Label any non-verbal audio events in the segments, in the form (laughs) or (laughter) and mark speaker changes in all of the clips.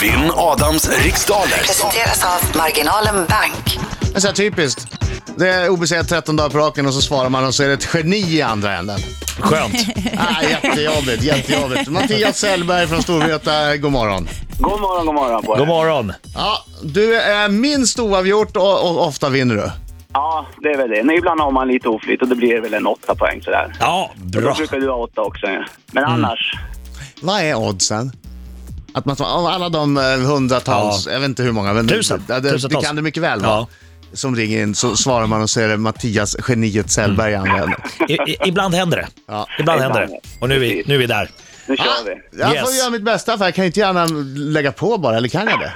Speaker 1: Vinn Adams riksdaler.
Speaker 2: Presenteras av Marginalen Bank.
Speaker 3: Men så här typiskt. Det är obesegrat 13 dagar på raken och så svarar man och så är det ett geni i andra änden.
Speaker 4: Skönt.
Speaker 5: (laughs)
Speaker 3: Ah, jättejobbigt, jättejobbigt. Mattias Sellberg från Storvreta, god morgon.
Speaker 6: God morgon, god morgon på er.
Speaker 4: God morgon.
Speaker 3: Ja, du är minst oavgjort och, och ofta vinner du.
Speaker 6: Ja, det är väl det. Men ibland har man lite oflyt och det blir väl en åtta poäng sådär.
Speaker 4: Ja,
Speaker 6: Då
Speaker 4: bra.
Speaker 6: brukar du ha åtta också.
Speaker 3: Mm.
Speaker 6: ja. Men annars,
Speaker 3: Vad är oddsen? Att man, av alla de eh, hundratals,
Speaker 4: Ja.
Speaker 3: jag vet inte hur många, men
Speaker 4: Tusen.
Speaker 3: Ja, det, det
Speaker 4: Tusentals.
Speaker 3: kan det mycket väl vara.
Speaker 4: Ja.
Speaker 3: Som ringer in så svarar man och så är det Mattias geniet Sellberg i andra änden.
Speaker 4: I, i, ibland händer det.
Speaker 3: Ja.
Speaker 4: Ibland händer det. Och nu är vi, nu är vi där.
Speaker 6: nu kör
Speaker 3: Ah,
Speaker 6: vi.
Speaker 3: jag får
Speaker 4: Yes.
Speaker 3: göra mitt bästa för jag kan ju inte gärna lägga på bara, eller kan jag
Speaker 6: (laughs)
Speaker 3: det?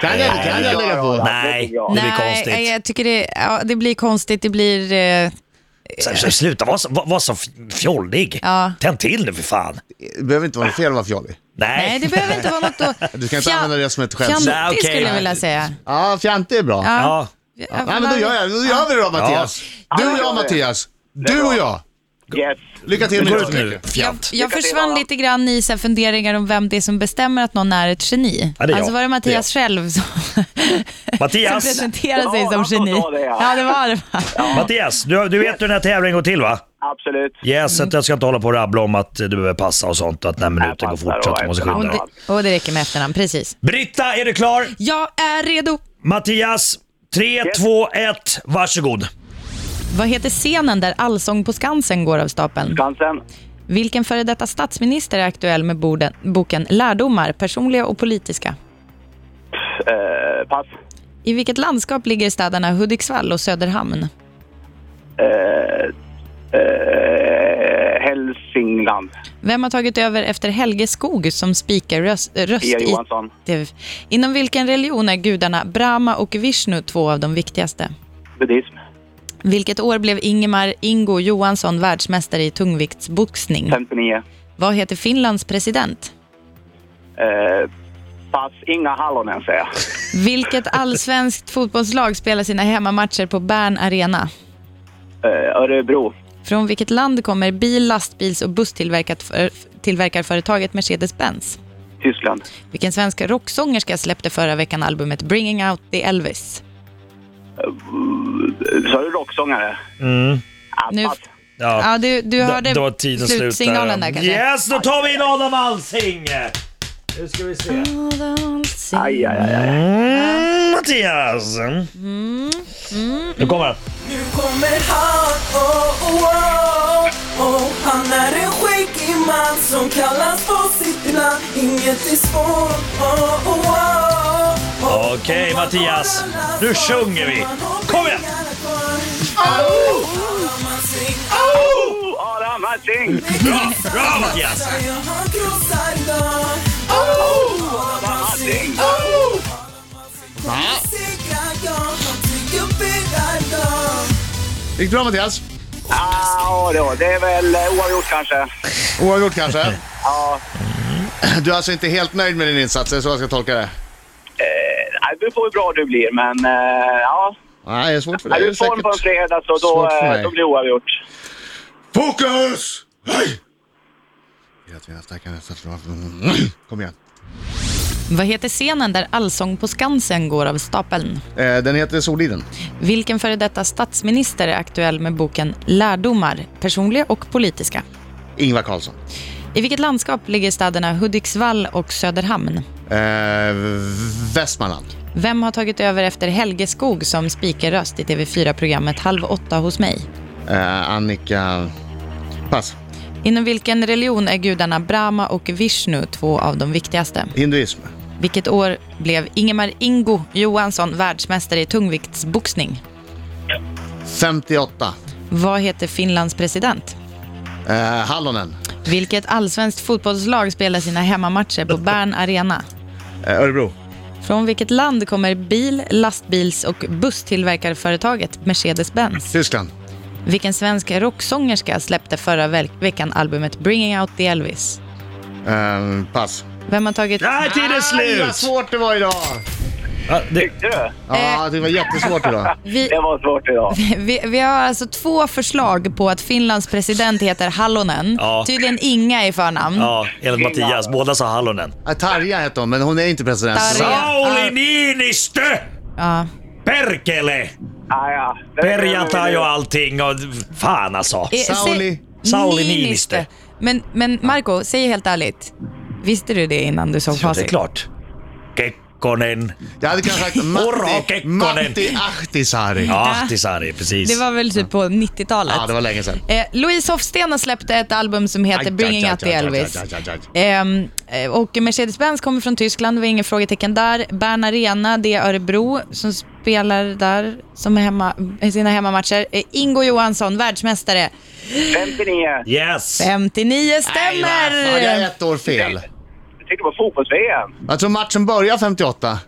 Speaker 3: Kan jag, kan jag lägga på?
Speaker 4: Nej, det blir
Speaker 5: Nej, eh,
Speaker 4: konstigt.
Speaker 5: jag tycker det, ja, det blir konstigt. Det blir... Eh,
Speaker 4: Så- så- Sluta vara så, var, var så f- fjollig.
Speaker 5: Ja.
Speaker 4: Tänd till nu för fan.
Speaker 3: Det behöver inte vara fel att vara fjollig.
Speaker 5: nej,
Speaker 4: Nej.
Speaker 5: det behöver inte vara något då...
Speaker 4: (laughs)
Speaker 3: Du ska inte
Speaker 5: Fja-
Speaker 3: använda det som ett skämt.
Speaker 5: Fjantig
Speaker 4: Nej, okej.
Speaker 5: skulle jag vilja säga.
Speaker 3: Ja, fjantig är bra.
Speaker 4: Ja,
Speaker 3: Nej, men då gör, jag, då gör vi det då Mattias. Du och
Speaker 6: Ja,
Speaker 3: jag
Speaker 6: det-
Speaker 3: Mattias.
Speaker 6: är
Speaker 3: Du och
Speaker 6: bra.
Speaker 3: jag.
Speaker 6: Yes.
Speaker 3: Lycka till
Speaker 4: nu
Speaker 3: med
Speaker 4: går det ut
Speaker 3: det.
Speaker 4: nu.
Speaker 5: Jag,
Speaker 4: Fjant.
Speaker 5: jag
Speaker 6: till,
Speaker 5: försvann
Speaker 6: Anna.
Speaker 5: lite grann i så här funderingar om vem det är som bestämmer att någon är ett geni.
Speaker 4: Ja, det är jag.
Speaker 5: alltså var det Mattias själv som, som
Speaker 4: (laughs) Mattias,
Speaker 5: presenterade sig
Speaker 6: Ja,
Speaker 5: som
Speaker 6: han som
Speaker 5: geni?
Speaker 6: sa det, ja.
Speaker 5: det var det. va?
Speaker 4: Mattias du, du vet hur den här tävlingen går till va?
Speaker 6: Absolut.
Speaker 4: Yes,
Speaker 5: Mm.
Speaker 4: att jag ska inte hålla på och rabbla om att du behöver passa och sånt och att den här minuten går fort så att du måste skynda
Speaker 5: Och
Speaker 4: dig.
Speaker 5: det, och det räcker med efternamn, precis.
Speaker 4: Britta, är du klar?
Speaker 5: Jag är redo.
Speaker 4: Mattias, 3,
Speaker 6: Yes.
Speaker 4: 2, 1, varsågod.
Speaker 5: Vad heter scenen där Allsång på Skansen går av stapeln?
Speaker 6: Skansen,
Speaker 5: Vilken före detta statsminister är aktuell med borden, boken Lärdomar, personliga och politiska?
Speaker 6: eh, pass.
Speaker 5: I vilket landskap ligger städerna Hudiksvall och Söderhamn?
Speaker 6: Eh, eh, Hälsingland,
Speaker 5: Vem har tagit över efter Helge Skog som speakerröst röst
Speaker 6: Pia
Speaker 5: i
Speaker 6: Johansson,
Speaker 5: TV? Inom vilken religion är gudarna Brahma och Vishnu två av de viktigaste?
Speaker 6: buddhism,
Speaker 5: Vilket år blev Ingemar Ingo Johansson världsmästare i tungviktsboxning?
Speaker 6: 59.
Speaker 5: Vad heter Finlands president?
Speaker 6: Eh, pass, Inga Hallonen säger jag.
Speaker 5: Vilket allsvenskt fotbollslag spelar sina hemmamatcher på Bern Arena?
Speaker 6: Eh, Örebro,
Speaker 5: Från vilket land kommer bil-, lastbils och busstillverkarföretaget Mercedes-Benz?
Speaker 6: Tyskland.
Speaker 5: Vilken svensk rocksångerska släppte förra veckan albumet Bringing Out the Elvis?
Speaker 6: Sa Eh, du rocksångare? Mm. Ah,
Speaker 5: Nu-
Speaker 6: pass.
Speaker 4: Ja.
Speaker 5: Ja, du, du hörde
Speaker 4: då, då var tiden slut
Speaker 5: slutsignalen där kanske?
Speaker 4: Yes, då tar vi in Adam Alsing! Nu ska vi se.
Speaker 6: Aj, aj, aj, aj.
Speaker 4: Mm, Mattias. Mm, Nu kommer han.
Speaker 7: Nu kommer han, oh, oh, oh, oh. Han är en skäggig man som kallas på sitt namn Inget är svårt, oh, oh, oh, oh.
Speaker 4: Okej,
Speaker 7: Om man
Speaker 4: Mattias.
Speaker 7: har alla
Speaker 4: Nu
Speaker 7: svar
Speaker 4: sjunger vi.
Speaker 7: får man ha
Speaker 4: Kom igen.
Speaker 7: pengarna kvar. Oh, oh, man sing,
Speaker 6: Oh, Adam Alsing!
Speaker 4: Bra, bra Mattias!
Speaker 7: oh, ja, han krossar dem. Oh, oh, man sing, oh. Kommer segra, ja, han trygguppbyggar dem.
Speaker 3: Gick det bra Mattias?
Speaker 6: Ah, då, det är väl eh, oavgjort kanske.
Speaker 3: Oavgjort
Speaker 6: Mm.
Speaker 3: kanske?
Speaker 6: Ja,
Speaker 3: Du är alltså inte helt nöjd med din insats, är det så jag ska tolka det?
Speaker 6: eh, det beror på hur bra du blir, men eh, ja.
Speaker 3: Nej, det är svårt för
Speaker 6: Är
Speaker 3: dig. Det
Speaker 6: du
Speaker 3: är
Speaker 6: i form på en
Speaker 3: säkert...
Speaker 6: fredag så då,
Speaker 3: svårt för
Speaker 6: eh,
Speaker 3: mig.
Speaker 6: då blir det oavgjort.
Speaker 3: Fokus! Hej! Vet vi nästa vecka, nästa vecka. Kom igen.
Speaker 5: Vad heter scenen där Allsång på Skansen går av stapeln?
Speaker 3: Eh, Den heter Soliden.
Speaker 5: Vilken före detta statsminister är aktuell med boken Lärdomar, personliga och politiska?
Speaker 3: Ingvar Carlsson.
Speaker 5: I vilket landskap ligger städerna Hudiksvall och Söderhamn?
Speaker 3: Eh, Västmanland.
Speaker 5: Vem har tagit över efter Helge Skog som speakerröst i TV4-programmet Halv åtta hos mig?
Speaker 3: Eh, Annika... Pass.
Speaker 5: Inom vilken religion är gudarna Brahma och Vishnu två av de viktigaste?
Speaker 3: Hinduism.
Speaker 5: Vilket år blev Ingemar Ingo Johansson världsmästare i tungviktsboxning?
Speaker 3: 58.
Speaker 5: Vad heter Finlands president?
Speaker 3: Eh, Hallonen.
Speaker 5: Vilket allsvenskt fotbollslag spelar sina hemmamatcher på Bern Arena?
Speaker 3: Eh, Örebro.
Speaker 5: Från vilket land kommer bil-, lastbils och busstillverkarföretaget Mercedes-Benz?
Speaker 3: Tyskland.
Speaker 5: Vilken svensk rocksångerska släppte förra ve- veckan albumet Bringing Out the Elvis?
Speaker 3: Eh, pass.
Speaker 5: Vem har tagit...
Speaker 4: Nej, tiden är
Speaker 5: Ah,
Speaker 3: Aj, vad
Speaker 4: slut!
Speaker 3: svårt det var idag!
Speaker 4: Ja, det,
Speaker 6: Tyckte du?
Speaker 5: Eh.
Speaker 3: Ja, det var jättesvårt idag.
Speaker 5: Vi,
Speaker 6: Det var svårt idag.
Speaker 5: (laughs) vi, vi har alltså två förslag på att Finlands president heter Hallonen.
Speaker 4: Ja.
Speaker 5: Tydligen Inga i förnamn.
Speaker 4: ja, enligt Mattias. Båda sa Hallonen.
Speaker 3: Ja, Eh, Tarja hette hon, men hon är inte president.
Speaker 5: Tarja.
Speaker 4: Sauli Niinistö!
Speaker 5: Ja. Eh,
Speaker 4: Perkele!
Speaker 6: Ah, ja.
Speaker 4: Perjantai och allting och fan alltså.
Speaker 5: Eh, säg-
Speaker 3: Sauli.
Speaker 4: Sauli Niinistö.
Speaker 5: Men, men Marco, säg helt ärligt. Visste du det innan du såg
Speaker 4: Ja, det är
Speaker 5: facit?
Speaker 4: klart. Kekkonen.
Speaker 3: Jag hade kanske sagt
Speaker 4: Urho
Speaker 3: Matti,
Speaker 4: Kekkonen.
Speaker 3: Matti Ahtisaari. Ja.
Speaker 4: Ja, Ahtisaari, precis.
Speaker 5: Det var väl typ på 90-talet?
Speaker 3: det var länge sedan.
Speaker 5: Eh, Louise Hofsten släppte ett album som heter
Speaker 3: Aj, aj,
Speaker 5: Bringing
Speaker 3: aj,
Speaker 5: Out the
Speaker 3: aj, aj,
Speaker 5: Elvis.
Speaker 3: aj, aj, aj,
Speaker 5: Ehm, eh, och Mercedes-Benz kommer från Tyskland, det var inget frågetecken där. Bern Arena, det är Örebro som spelar där som är hemma, i sina hemmamatcher. Eh, Ingo Johansson, världsmästare.
Speaker 6: 59.
Speaker 4: Yes!
Speaker 5: 59
Speaker 3: Nej, vad fan, Jag är
Speaker 5: stämmer!
Speaker 3: ett år fel.
Speaker 6: Jag tyckte det var fotbolls-VM.
Speaker 3: Jag tror matchen börjar 58.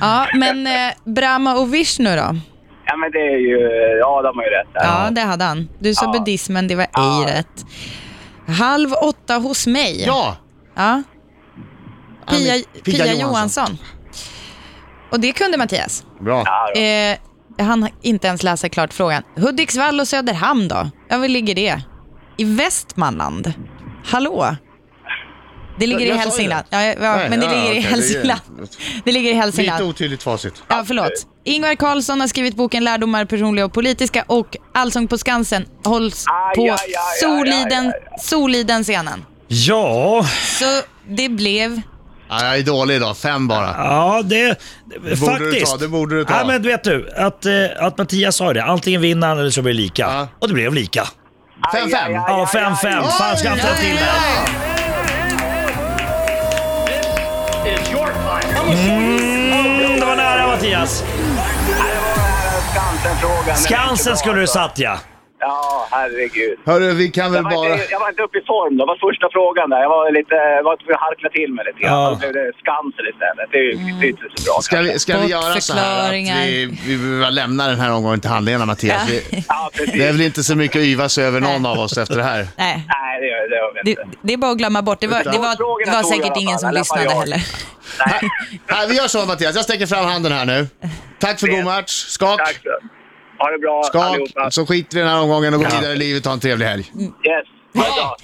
Speaker 5: Ja, men eh, Brahma och Vishnu då?
Speaker 6: Ja, men det är ju... Ja, de har ju rätt där.
Speaker 5: Ja, det hade han. Du sa buddhismen, det var ej rätt. Halv åtta hos mig.
Speaker 3: Ja!
Speaker 5: Ja. Pia,
Speaker 3: Annie-
Speaker 5: Pia, Johansson. Och det kunde Mattias.
Speaker 3: Bra.
Speaker 5: Eh, han inte ens läsa klart frågan. Hudiksvall och Söderhamn då? Ja, var ligger det? I Västmanland? Hallå? Det ligger i
Speaker 3: jag sa ju
Speaker 5: Hälsingland.
Speaker 3: det.
Speaker 5: Ja, ja,
Speaker 3: Nej,
Speaker 5: men det
Speaker 3: ja,
Speaker 5: ligger i
Speaker 3: okej, det är-
Speaker 5: Hälsingland. Det ligger i
Speaker 3: Lite
Speaker 5: Hälsingland.
Speaker 3: otydligt facit.
Speaker 5: Ja, förlåt. Ingvar Carlsson har skrivit boken Lärdomar personliga och politiska och Allsång på Skansen hålls
Speaker 6: Aj, aj,
Speaker 5: på
Speaker 6: aj, aj, aj,
Speaker 5: Soliden,
Speaker 6: aj,
Speaker 5: Soliden-scenen.
Speaker 4: Ja,
Speaker 5: Så det blev
Speaker 3: Ja, jag är dålig idag, fem bara.
Speaker 4: ja det...
Speaker 3: du
Speaker 4: faktiskt.
Speaker 3: ta, det borde du ta.
Speaker 4: Ja, men vet du, att, eh, att Mattias sa ju det. Antingen vinner han eller så blir det lika.
Speaker 3: Ja.
Speaker 4: Och det blev lika.
Speaker 6: Aj,
Speaker 3: Fem, fem.
Speaker 6: aj, aj,
Speaker 4: Ja,
Speaker 6: aj, aj.
Speaker 4: 5-5. Fan, ska han ta till det? Mm, det var nära Mattias.
Speaker 6: Det var den här Skansen-frågan.
Speaker 4: Skansen skulle du satt ja.
Speaker 6: Ja, herregud.
Speaker 3: Hörru, vi kan väl
Speaker 6: Jag var,
Speaker 3: bara...
Speaker 6: inte, jag var inte uppe i form då. Det var första frågan där. Jag var lite... Jag var tvungen att harkla till mig lite grann.
Speaker 4: Ja.
Speaker 6: Då blev det Skansen istället. Det är ju det är inte så bra.
Speaker 3: Ska vi, ska vi göra så här att
Speaker 5: Bortförklaringar.
Speaker 3: vi, vi behöver lämna den här omgången till handlingarna, Mattias? Vi,
Speaker 6: Ja,
Speaker 3: det är
Speaker 6: precis.
Speaker 3: väl inte så mycket att yvas över någon av oss efter det här.
Speaker 5: Nej,
Speaker 6: Nej, det gör, det gör vi
Speaker 5: det,
Speaker 6: inte.
Speaker 5: det är bara att glömma bort. Det var, det var, det var säkert ingen som lyssnade heller.
Speaker 6: Nej,
Speaker 3: Nej, vi gör så, Mattias. Jag sträcker fram handen här nu. Tack för god match. Skak,
Speaker 6: tack. så. Ha det bra
Speaker 3: skak.
Speaker 6: allihopa.
Speaker 3: Så skiter vi i den här omgången och går
Speaker 4: Ja.
Speaker 3: vidare i livet. Ha en trevlig helg.
Speaker 6: Yes. Ha det bra.